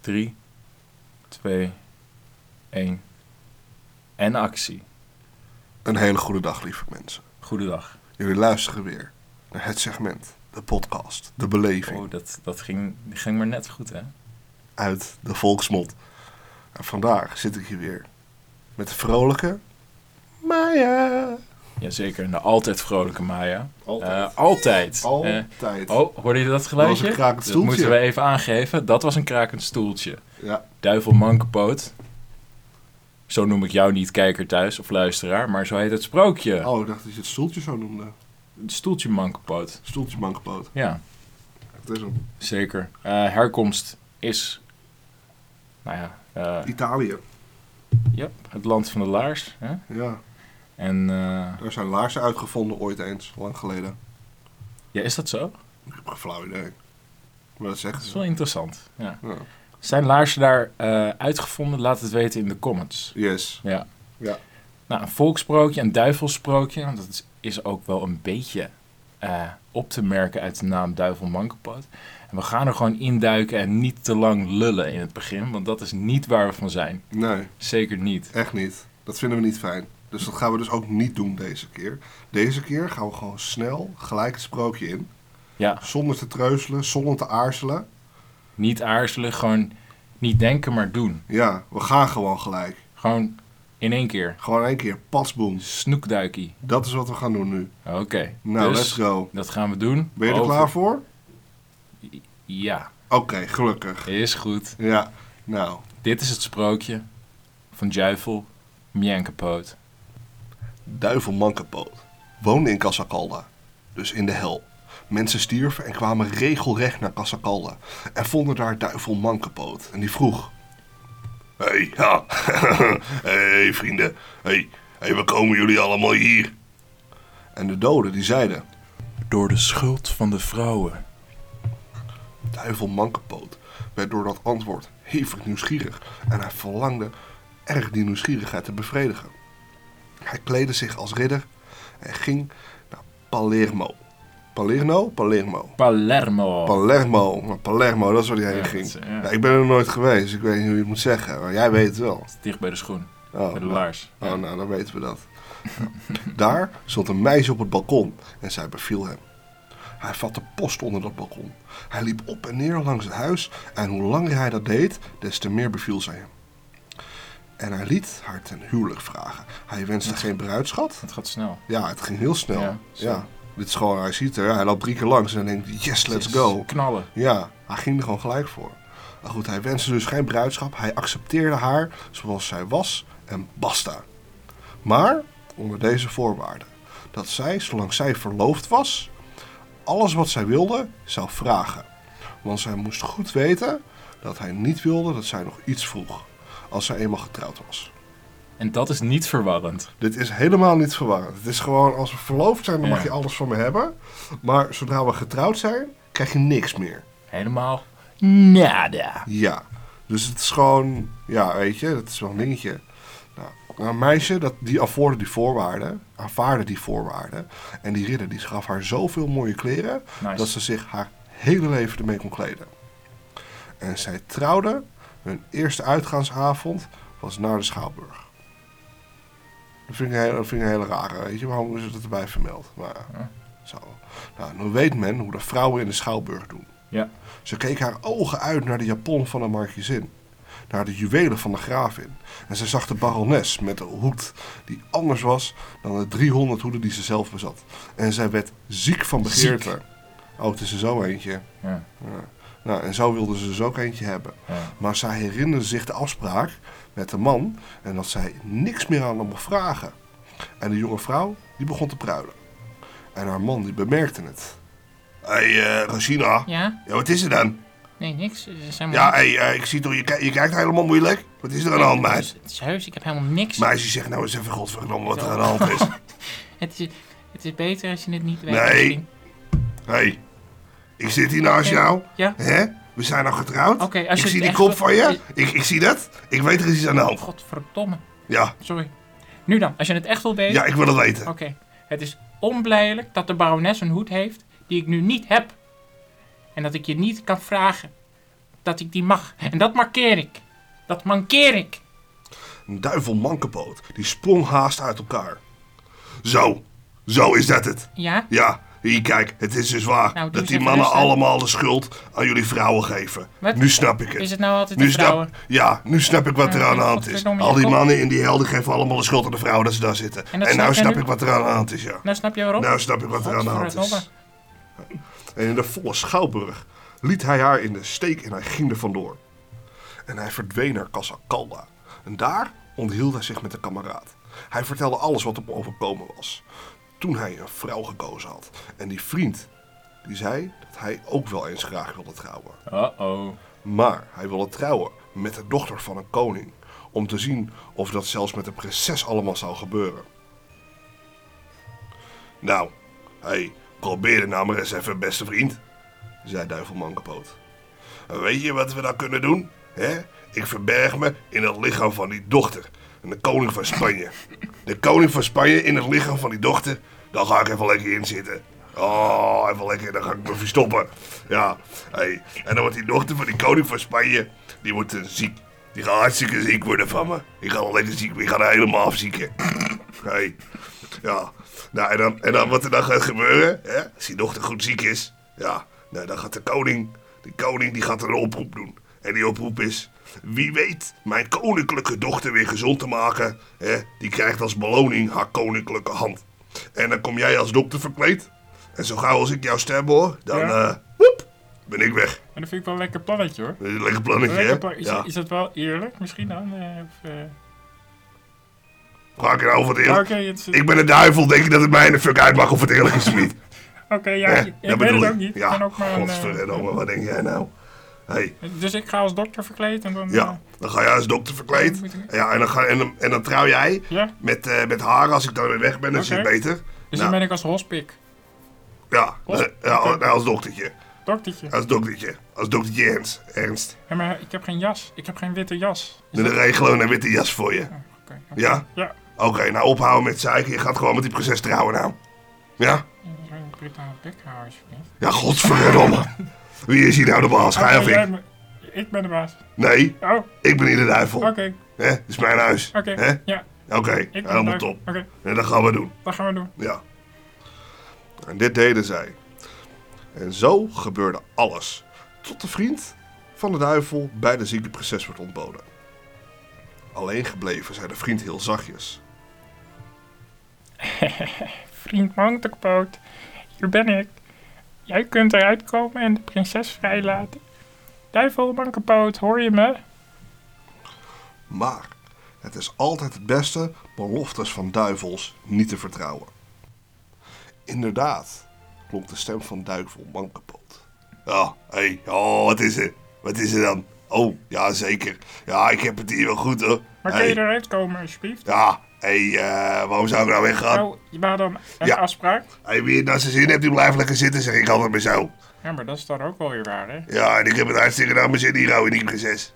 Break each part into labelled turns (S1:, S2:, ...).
S1: 3, 2, 1. En actie.
S2: Een hele goede dag, lieve mensen.
S1: Goedendag.
S2: Jullie luisteren weer naar het segment, de podcast, de beleving
S1: Oh, dat, dat ging, ging maar net goed, hè?
S2: uit de volksmond. En vandaag zit ik hier weer met de vrolijke Maya.
S1: Jazeker, en de altijd vrolijke Maya.
S2: Altijd.
S1: Eh, altijd. Eh,
S2: Altijd.
S1: oh, hoorde je dat geluidje?
S2: Dat was een krakend
S1: Dat moeten we
S2: stoeltje.
S1: even aangeven. Dat was een krakend stoeltje.
S2: Ja,
S1: Duivel mankenpoot. Zo noem ik jou niet kijker thuis of luisteraar, maar zo heet het sprookje.
S2: oh, ik dacht dat je het stoeltje zo noemde.
S1: Het Stoeltje mankenpoot.
S2: Stoeltje mankenpoot.
S1: Ja.
S2: Het is een
S1: Zeker. Eh, herkomst is. Nou ja, eh,
S2: Italië.
S1: ja, het land van de laars. Hè?
S2: Ja,
S1: En. eh,
S2: daar zijn laarzen uitgevonden ooit eens, lang geleden.
S1: ja, is dat zo?
S2: Ik heb geen flauw idee. Maar dat
S1: Dat
S2: zeggen
S1: is
S2: ze.
S1: wel interessant. Ja.
S2: Ja.
S1: Zijn laarzen daar eh, uitgevonden? Laat het weten in de comments.
S2: Yes.
S1: Ja.
S2: Ja.
S1: Nou, een volksprookje, een duivelsprookje. want Dat is, is ook wel een beetje eh, op te merken uit de naam Duivel Mankenpoot. En we gaan er gewoon induiken en niet te lang lullen in het begin, want dat is niet waar we van zijn.
S2: Nee.
S1: Zeker niet.
S2: Echt niet. Dat vinden we niet fijn. Dus dat gaan we dus ook niet doen deze keer. Deze keer gaan we gewoon snel gelijk het sprookje in.
S1: Ja.
S2: Zonder te treuzelen, zonder te aarzelen.
S1: Niet aarzelen, gewoon niet denken, maar doen.
S2: Ja, we gaan gewoon gelijk.
S1: Gewoon in één keer.
S2: Gewoon in één keer. Pasboom.
S1: Snoekduikie.
S2: Dat is wat we gaan doen nu.
S1: Oké.
S2: Nou,
S1: dus
S2: let's go.
S1: dat gaan we doen.
S2: Ben je er
S1: Over-
S2: klaar voor?
S1: Ja,
S2: Oké, gelukkig.
S1: is goed.
S2: Ja. Nou,
S1: Dit is het sprookje van Juifel Mjankepoot.
S2: Duivel Mankepoot woonde in Cassacalda, dus in de hel. Mensen stierven en kwamen regelrecht naar Cassacalda en vonden daar Duivel Mankepoot. En die vroeg: Hé, hey, ja. hey, vrienden, hey, hey, waar komen jullie allemaal hier? En de doden die zeiden:
S1: Door de schuld van de vrouwen.
S2: Duivel Mankepoot werd door dat antwoord hevig nieuwsgierig en hij verlangde erg die nieuwsgierigheid te bevredigen. Hij kleedde zich als ridder en ging naar Palermo. Palermo? Palermo.
S1: Palermo.
S2: Palermo, maar Palermo, dat is waar hij heen
S1: Ja,
S2: ging.
S1: dat is- ja.
S2: Ja, ik ben er nooit geweest, dus ik weet niet hoe je het moet zeggen, maar jij weet het wel.
S1: Dicht bij de schoen.
S2: Oh,
S1: bij de
S2: nou,
S1: laars.
S2: oh, nou, dan weten we dat. Daar stond een meisje op het balkon en zij beviel hem. Hij vatte post onder dat balkon. Hij liep op en neer langs het huis en hoe langer hij dat deed, des te meer beviel zij hem. En hij liet haar ten huwelijk vragen. Hij wenste geen bruidschat.
S1: Het gaat snel.
S2: Ja, het ging heel snel.
S1: Ja,
S2: Ja,
S1: zo.
S2: Dit is gewoon, hij ziet er, hij loopt drie keer langs en denkt, yes, let's go.
S1: Knallen.
S2: Ja, hij ging er gewoon gelijk voor. Maar goed, hij wenste dus geen bruidschap. Hij accepteerde haar zoals zij was en basta. Maar onder deze voorwaarden. Dat zij, zolang zij verloofd was, alles wat zij wilde zou vragen. Want zij moest goed weten dat hij niet wilde dat zij nog iets vroeg. Als zij eenmaal getrouwd was.
S1: En dat is niet verwarrend.
S2: Dit is helemaal niet verwarrend. Het is gewoon, als we verloofd zijn, dan
S1: Ja.
S2: mag je alles van me hebben. Maar zodra we getrouwd zijn, krijg je niks meer.
S1: Helemaal nada.
S2: Ja. Dus het is gewoon, ja, weet je, dat is wel een dingetje. Nou, maar een meisje, dat, die afvoerde die voorwaarden, aanvaarde die voorwaarden. En die ridder, die gaf haar zoveel mooie kleren,
S1: Nice.
S2: dat ze zich haar hele leven ermee kon kleden. En zij trouwde, hun eerste uitgaansavond was naar de Schouwburg. Dat vind ik een hele, dat vind ik een hele rare, weet je, waarom is het erbij vermeld? Maar,
S1: Ja.
S2: zo. Nou, nu weet men hoe de vrouwen in de Schouwburg doen.
S1: Ja.
S2: Ze keek haar ogen uit naar de japon van de markiezin, naar de juwelen van de gravin. En ze zag de barones met een hoed die anders was dan de 300 hoeden die ze zelf bezat. En zij werd ziek van begeerte. Oh, het is er zo eentje.
S1: Ja.
S2: Ja. Nou, en zo wilde ze dus ook eentje hebben.
S1: Ja.
S2: Maar zij herinnerde zich de afspraak met de man en dat zij niks meer aan hem mocht vragen. En de jonge vrouw, die begon te pruilen. En haar man, die bemerkte het. Hé, hey, eh, Regina.
S3: Ja,
S2: Ja, wat is er dan?
S3: nee, niks. Er zijn
S2: Ja, hé, eh, ik zie toch, je, ki- je kijkt helemaal moeilijk. Wat is er aan de hand,
S3: Het is-
S2: meid?
S3: Het is heus, ik heb helemaal niks.
S2: Meisje, zeg nou eens even, godverdomme, wat er aan de hand is.
S3: Het, is, het is beter als je het niet weet.
S2: Nee.
S3: misschien.
S2: Hé, hey, ik zit hier naast
S3: Ja.
S2: jou.
S3: Ja?
S2: Hè? We zijn al getrouwd.
S3: Oké, als je
S2: ik
S3: het
S2: zie die
S3: echt
S2: kop
S3: wil-
S2: van je. Ik, ik zie dat. Ik weet er is iets aan de hand.
S3: Godverdomme.
S2: Ja,
S3: Sorry. Nu dan, als je het echt wil weten.
S2: ja, ik wil het weten.
S3: Oké. Het is onblijdelijk dat de barones een hoed heeft die ik nu niet heb. En dat ik je niet kan vragen. dat ik die mag. En dat markeer ik. Dat mankeer ik.
S2: Een duivel mankenpoot, die sprong haast uit elkaar. Zo, zo is dat het.
S3: Ja?
S2: Ja, hier kijk, het is dus waar
S3: Nou, doe
S2: dat
S3: eens
S2: die
S3: even
S2: mannen
S3: rustig.
S2: allemaal de schuld aan jullie vrouwen geven.
S3: Wat?
S2: Nu snap ik het.
S3: Is het nou altijd
S2: nu
S3: de vrouwen?
S2: Snap, ja, nu snap ik wat
S3: Ja,
S2: er aan de
S3: en
S2: hand is.
S3: godverdomme,
S2: Al die
S3: Jacob.
S2: mannen in die helden geven allemaal de schuld aan de vrouwen dat ze daar zitten. En,
S3: En dat snap
S2: nou
S3: jij
S2: snap
S3: nu?
S2: ik wat er aan de hand is, ja.
S3: Nou snap je waarom?
S2: Nou snap ik wat er aan de hand is.
S3: Godverdomme.
S2: En in de volle schouwburg liet hij haar in de steek en hij ging er vandoor. En hij verdween naar Casa Calda. En daar onthield hij zich met de kameraad. Hij vertelde alles wat hem overkomen was. Toen hij een vrouw gekozen had. En die vriend, die zei dat hij ook wel eens graag wilde trouwen.
S1: Uh-oh.
S2: Maar hij wilde trouwen met de dochter van een koning. Om te zien of dat zelfs met een prinses allemaal zou gebeuren. Nou, hé, hey, probeer het nou maar eens even, beste vriend. zei Duivel Mankepoot. En weet je wat we dan kunnen doen? hè? Ik verberg me in het lichaam van die dochter. En de koning van Spanje. De koning van Spanje in het lichaam van die dochter. Daar ga ik even lekker in zitten. Oh, even lekker. Dan ga ik me verstoppen. Ja, hey. En dan wordt die dochter van die koning van Spanje. Die wordt eh, ziek. Die gaat hartstikke ziek worden van me. Ik ga wel lekker ziek. Ik ga haar helemaal afzieken. Hey. Ja. Nou, en dan, en dan wat er dan gaat gebeuren, hè? als die dochter goed ziek is, ja, nou, dan gaat de koning, die koning die gaat een oproep doen. En die oproep is, wie weet mijn koninklijke dochter weer gezond te maken, hè? die krijgt als beloning haar koninklijke hand. En dan kom jij als dokter verkleed, en zo gauw als ik jou stem hoor, dan, eh
S3: Ja.
S2: woep, ben ik weg.
S3: Maar dat vind ik wel een lekker plannetje hoor.
S2: Dat is een lekker plannetje, hè? Ja.
S3: dat wel eerlijk misschien dan? Eh, of,
S2: Ga ik nou over het eerlijk?
S3: het,
S2: Ik ben de duivel, denk je dat het mij in de fuck uit mag of het eerlijk is of niet?
S3: Oké, ja,
S2: Hè?
S3: ik- ik weet
S2: bedoel
S3: het ook niet.
S2: Ja,
S3: Ik ben ook maar een, eh,
S2: godverdomme, wat denk jij nou? Hey,
S3: dus ik ga als dokter verkleed en dan... eh,
S2: ja, dan ga jij als dokter verkleed.
S3: Moet ik-
S2: Ja, en dan, ga, en, dan- en dan trouw jij
S3: eh, ja?
S2: met, eh, met haar als ik dan weer weg ben, dan is
S3: Oké.
S2: het beter.
S3: Dus
S2: Nou.
S3: dan ben ik als hospik.
S2: Ja,
S3: Klopt.
S2: eh, ja,
S3: Oké.
S2: nou, als doktertje.
S3: Doktertje.
S2: Als doktertje. Als doktertje Ernst. Ernst.
S3: Ja, maar ik heb geen jas. Ik heb geen witte jas. Is
S2: Dan
S3: dat-
S2: regelen we een witte jas voor je.
S3: Oké, oké.
S2: Ja?
S3: Ja.
S2: Oké, nou ophouden met zeiken. Je gaat gewoon met die prinses trouwen nou. Ja?
S3: Zo'n brutale bek houden alsjeblieft.
S2: Ja, godverdomme. Wie is hier nou de baas? Hij of
S3: Oké, jij
S2: ik?
S3: bent- ik ben de baas.
S2: Nee,
S3: Oh, oké.
S2: ik ben hier de duivel. Hè?
S3: Oké.
S2: Het is mijn huis. Hè?
S3: Ja,
S2: Oké,
S3: ik ben
S2: helemaal
S3: de-
S2: top.
S3: Oké,
S2: En dat gaan we doen.
S3: dat gaan we doen.
S2: Ja. En dit deden zij. En zo gebeurde alles. Tot de vriend van de duivel bij de zieke prinses werd ontboden. Alleen gebleven zei de vriend heel zachtjes.
S3: Vriend Mantekpoot, hier ben ik. Jij kunt eruit komen en de prinses vrijlaten. Duivel Mantekpoot, hoor je me?
S2: Maar het is altijd het beste beloftes van duivels niet te vertrouwen. Inderdaad, klonk de stem van duivel mankepoot. Ja, hé, oh, wat is er? Wat is er dan? Oh, ja, zeker. Ja, ik heb het hier wel goed, hoor.
S3: Maar
S2: Hey.
S3: kun je eruit komen, alsjeblieft?
S2: Ja, hé, eh, waarom zou ik nou weggaan?
S3: Nou, je had dan een
S2: Ja.
S3: afspraak.
S2: Hé, wie het naar zijn zin heeft, die blijft lekker zitten, zeg ik altijd maar zo.
S3: Ja, maar dat is dan ook wel weer waar, hè?
S2: Ja, en ik heb het hartstikke naar mijn zin hier, hou in die prinses.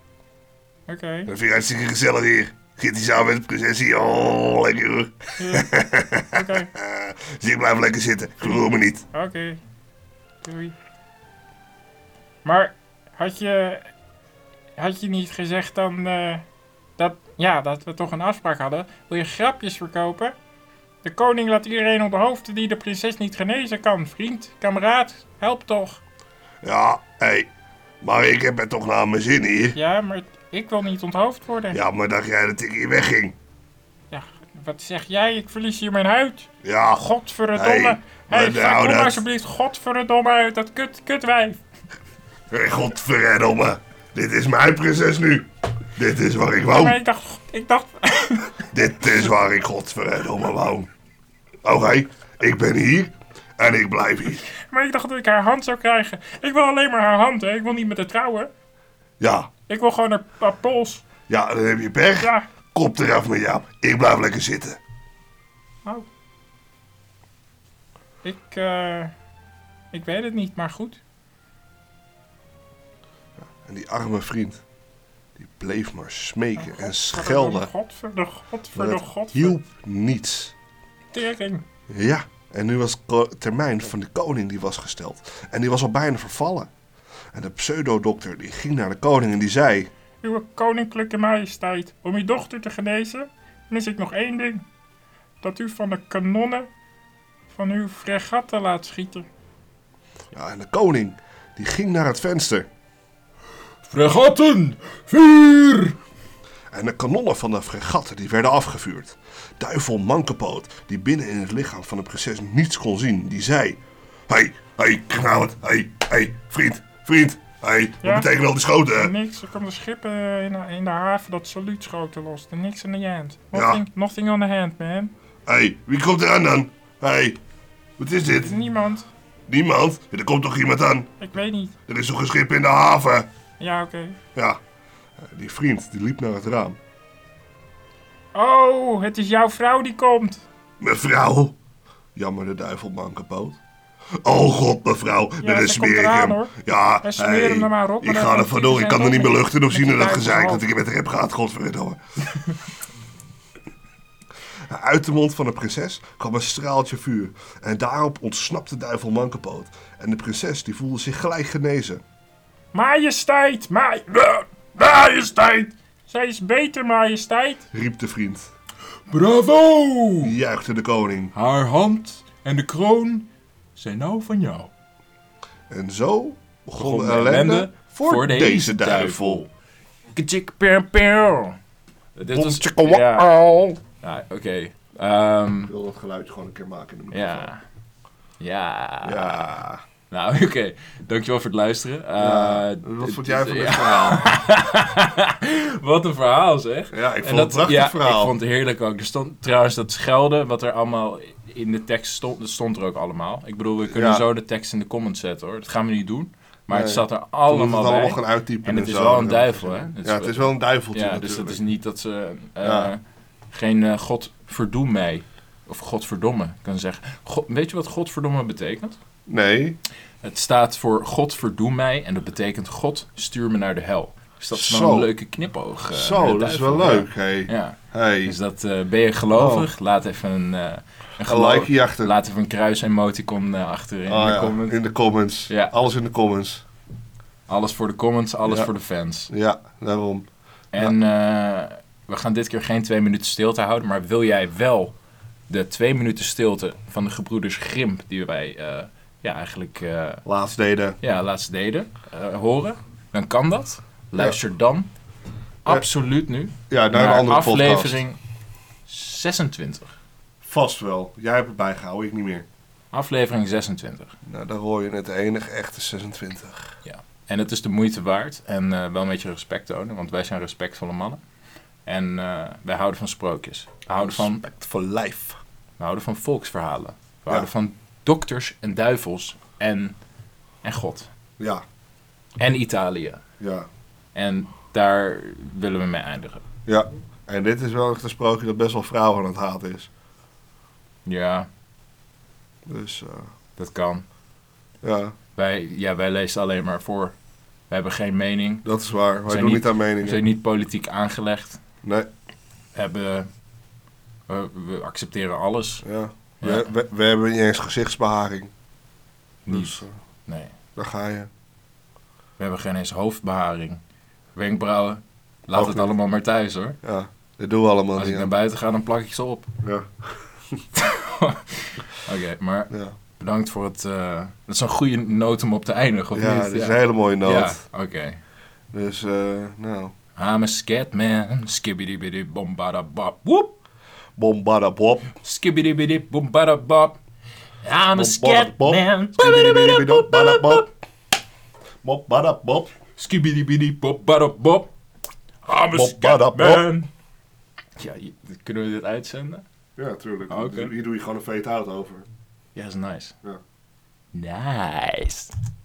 S3: Oké.
S2: Dat vind ik hartstikke gezellig hier. Giet die samen met de prinses hier, oh, lekker hoor.
S3: Ja. Oké,
S2: Eh, dus ik blijf lekker zitten, ik roer me niet.
S3: oké. Doei. Maar had je, had je niet gezegd dan eh, dat, ja, dat we toch een afspraak hadden? Wil je grapjes verkopen? De koning laat iedereen op de hoofd die de prinses niet genezen kan. Vriend, kameraad, help toch.
S2: Ja, hé, maar ik heb het toch naar mijn zin hier.
S3: Ja, maar ik wil niet onthoofd worden.
S2: Ja, maar dacht jij dat ik hier wegging?
S3: Ja, wat zeg jij? Ik verlies hier mijn huid.
S2: Ja, god. Hey,
S3: Godverdomme.
S2: maar
S3: Hey, ga
S2: nou
S3: kom
S2: dat-
S3: alsjeblieft, godverdomme uit dat kut, kutwijf.
S2: Godverdomme. Dit is mijn prinses nu. Dit is waar ik woon.
S3: Maar ik dacht, ik dacht,
S2: Dit is waar ik godverdomme woon. Oké, ik ben hier en ik blijf hier.
S3: maar ik dacht dat ik haar hand zou krijgen. Ik wil alleen maar haar hand, hè. Ik wil niet met haar trouwen.
S2: Ja,
S3: Ik wil gewoon haar, haar pols.
S2: ja, dan heb je pech.
S3: Ja.
S2: Kop eraf met jou. Ik blijf lekker zitten.
S3: Oh. Ik, eh, ik weet het niet, maar goed.
S2: En die arme vriend, die bleef maar smeken en
S3: Godverdomme,
S2: schelden.
S3: Godverdomme,
S2: Maar
S3: godverdomme,
S2: het
S3: godverdomme.
S2: hielp niets.
S3: Tering.
S2: Ja, en nu was de ko- termijn van de koning die was gesteld. En die was al bijna vervallen. En de pseudodokter die ging naar de koning en die zei...
S3: Uw koninklijke majesteit, om uw dochter te genezen, mis ik nog één ding. Dat u van de kanonnen van uw fregatten laat schieten.
S2: Ja, en de koning die ging naar het venster.
S1: Fregatten! Vuur!
S2: En de kanonnen van de fregatten die werden afgevuurd. Duivel Mankepoot, die binnen in het lichaam van de prinses niets kon zien, die zei... Hé, hé, knaap, hé, hé, vriend, vriend, hé,
S3: Ja?
S2: wat betekenen al die schoten?
S3: Niks, er komen schepen in de, in de haven dat saluutschoten lost. En niks in the hand.
S2: Ja.
S3: Nothing, nothing on the hand, man.
S2: Hé, wie komt er aan dan? Hé, wat is
S3: Er
S2: dit?
S3: is niemand.
S2: Niemand? Er komt toch iemand aan?
S3: Ik weet niet.
S2: Er is toch een schip in de haven?
S3: Ja, oké.
S2: Ja, eh, die vriend die liep naar het raam.
S3: Oh, het is jouw vrouw die komt.
S2: Mevrouw, jammerde duivel Mankepoot. Oh god, mevrouw,
S3: Ja,
S2: dat
S3: ze
S2: is
S3: komt
S2: smerig
S3: eraan,
S2: hem.
S3: hoor.
S2: Ja,
S3: Hij smeert
S2: hey,
S3: hem er maar op,
S2: ik
S3: maar daar
S2: ga er
S3: komt dus
S2: vandoor, ik kan er
S3: iedereen
S2: niet meer
S3: ook
S2: luchten of
S3: met
S2: zien
S3: die
S2: in dat
S3: duivel
S2: gezeik
S3: op.
S2: dat ik met haar heb gehad, godverdomme. Uit de mond van de prinses kwam een straaltje vuur en daarop ontsnapte duivel Mankepoot. En de prinses die voelde zich gelijk genezen.
S3: Majesteit, maj... Majesteit! Zij is beter, majesteit.
S2: Riep de vriend,
S1: Bravo!
S2: juichte de koning.
S1: Haar hand en de kroon zijn nou van jou.
S2: En zo begon
S1: Begon
S2: de
S1: de
S2: ellende
S1: ellende
S2: voor,
S1: voor
S2: deze,
S1: deze
S2: duivel.
S1: Kachik, pew, pew. Dit was... Ja,
S2: Wow.
S1: Ja, oké. Ehm,
S2: Ik wil dat geluid gewoon een keer maken in de microfoon.
S1: ja. Ja.
S2: Ja.
S1: Nou, oké. Dankjewel voor het luisteren. Eh,
S2: Ja. Wat
S1: dit
S2: vond jij
S1: is-
S2: van
S1: ja,
S2: dit verhaal?
S1: Wat een verhaal, zeg.
S2: Ja, ik
S1: En
S2: vond het een prachtig
S1: ja,
S2: verhaal.
S1: Ik vond het heerlijk ook. Er stond trouwens dat schelden, wat er allemaal in de tekst stond, dat stond er ook allemaal. Ik bedoel, we kunnen
S2: Ja.
S1: zo de tekst in de comments zetten hoor. Dat gaan we niet doen. Maar het
S2: Nee.
S1: zat er
S2: We moeten
S1: allemaal
S2: het allemaal
S1: bij.
S2: gaan uittypen.
S1: En het is
S2: zo.
S1: wel een duivel, hè? Het is
S2: Ja,
S1: wel-
S2: het is wel een duiveltje
S1: Ja, dus
S2: natuurlijk.
S1: dat is niet dat ze eh,
S2: Ja.
S1: geen eh, God verdoem mij. Of Godverdomme kan zeggen. Go- weet je wat Godverdomme betekent?
S2: Nee.
S1: Het staat voor God verdoem mij en dat betekent God stuur me naar de hel. Dus dat is wel
S2: Zo.
S1: een leuke knipoog. eh, naar
S2: Zo,
S1: de
S2: dat is wel
S1: duivel.
S2: leuk. Oh. Hey.
S1: Ja.
S2: Hey.
S1: Dus dat eh, ben je gelovig? Laat even een, eh een
S2: Een
S1: geloof-
S2: likeje achter.
S1: Laat even een kruis-emoticon eh, achter in
S2: Oh,
S1: de
S2: ja,
S1: comments.
S2: In de comments.
S1: Ja.
S2: Alles in de comments.
S1: Alles voor de comments, alles
S2: Ja.
S1: voor de fans.
S2: Ja, daarom.
S1: En eh, we gaan dit keer geen twee minuten stilte houden, maar wil jij wel de twee minuten stilte van de gebroeders Grimp die wij eh, ja, eigenlijk eh,
S2: Laatst deden.
S1: ja, laatst deden, eh, horen? Dan kan dat. Luister dan absoluut nu
S2: Ja, naar,
S1: naar
S2: een andere
S1: aflevering
S2: podcast.
S1: 26.
S2: Vast wel. Jij hebt het bijgehouden, ik niet meer.
S1: Aflevering 26.
S2: Nou, daar hoor je het enige echte 26.
S1: En het is de moeite waard. En eh, wel een beetje respect tonen, want wij zijn respectvolle mannen. En eh, wij houden van sprookjes. We houden van,
S2: Respect for life.
S1: we houden van volksverhalen. We
S2: Ja.
S1: houden van dokters en duivels en, en God.
S2: Ja,
S1: En Italië.
S2: ja,
S1: En daar willen we mee eindigen.
S2: ja. En dit is wel echt een sprookje dat best wel vrouwen aan het haten is.
S1: Ja,
S2: Dus eh,
S1: dat kan.
S2: ja,
S1: Wij, ja, wij lezen alleen maar voor. We hebben geen mening.
S2: dat is waar. Wij
S1: Zijn
S2: doen
S1: niet-
S2: niet aan
S1: We
S2: meningen.
S1: zijn niet politiek aangelegd.
S2: Nee,
S1: We, hebben, we, we accepteren alles.
S2: ja.
S1: Ja.
S2: We, we, we hebben niet eens gezichtsbeharing. Dus
S1: Niet.
S2: eh,
S1: Nee.
S2: daar ga je.
S1: We hebben geen eens hoofdbeharing. Wenkbrauwen. Laat
S2: Ook
S1: het
S2: niet.
S1: allemaal maar thuis hoor.
S2: Ja, dit doen we allemaal
S1: Als ik
S2: niet
S1: naar
S2: aan.
S1: buiten ga, dan plak ik ze op.
S2: Ja,
S1: Oké, maar
S2: ja.
S1: bedankt voor het. eh, dat is een goede noot om op te eindigen, of
S2: ja
S1: niet?
S2: dit is een hele mooie noot.
S1: Ja, oké.
S2: Dus, eh, nou,
S1: I'm a scatman. Skibbidi bom bada bop. Woep.
S2: bombada bob.
S1: Skibbidi bom bada bop. I'm a scatman.
S2: Bombada bob.
S1: Skibbidi bom bada bop. I'm a
S2: Bom, bada, bop.
S1: scatman. Ja, je- kunnen we dit uitzenden?
S2: Ja, tuurlijk.
S1: Ah, Oké.
S2: Hier doe je gewoon een fade-out over.
S1: Ja, is nice.
S2: Ja.
S1: Nice.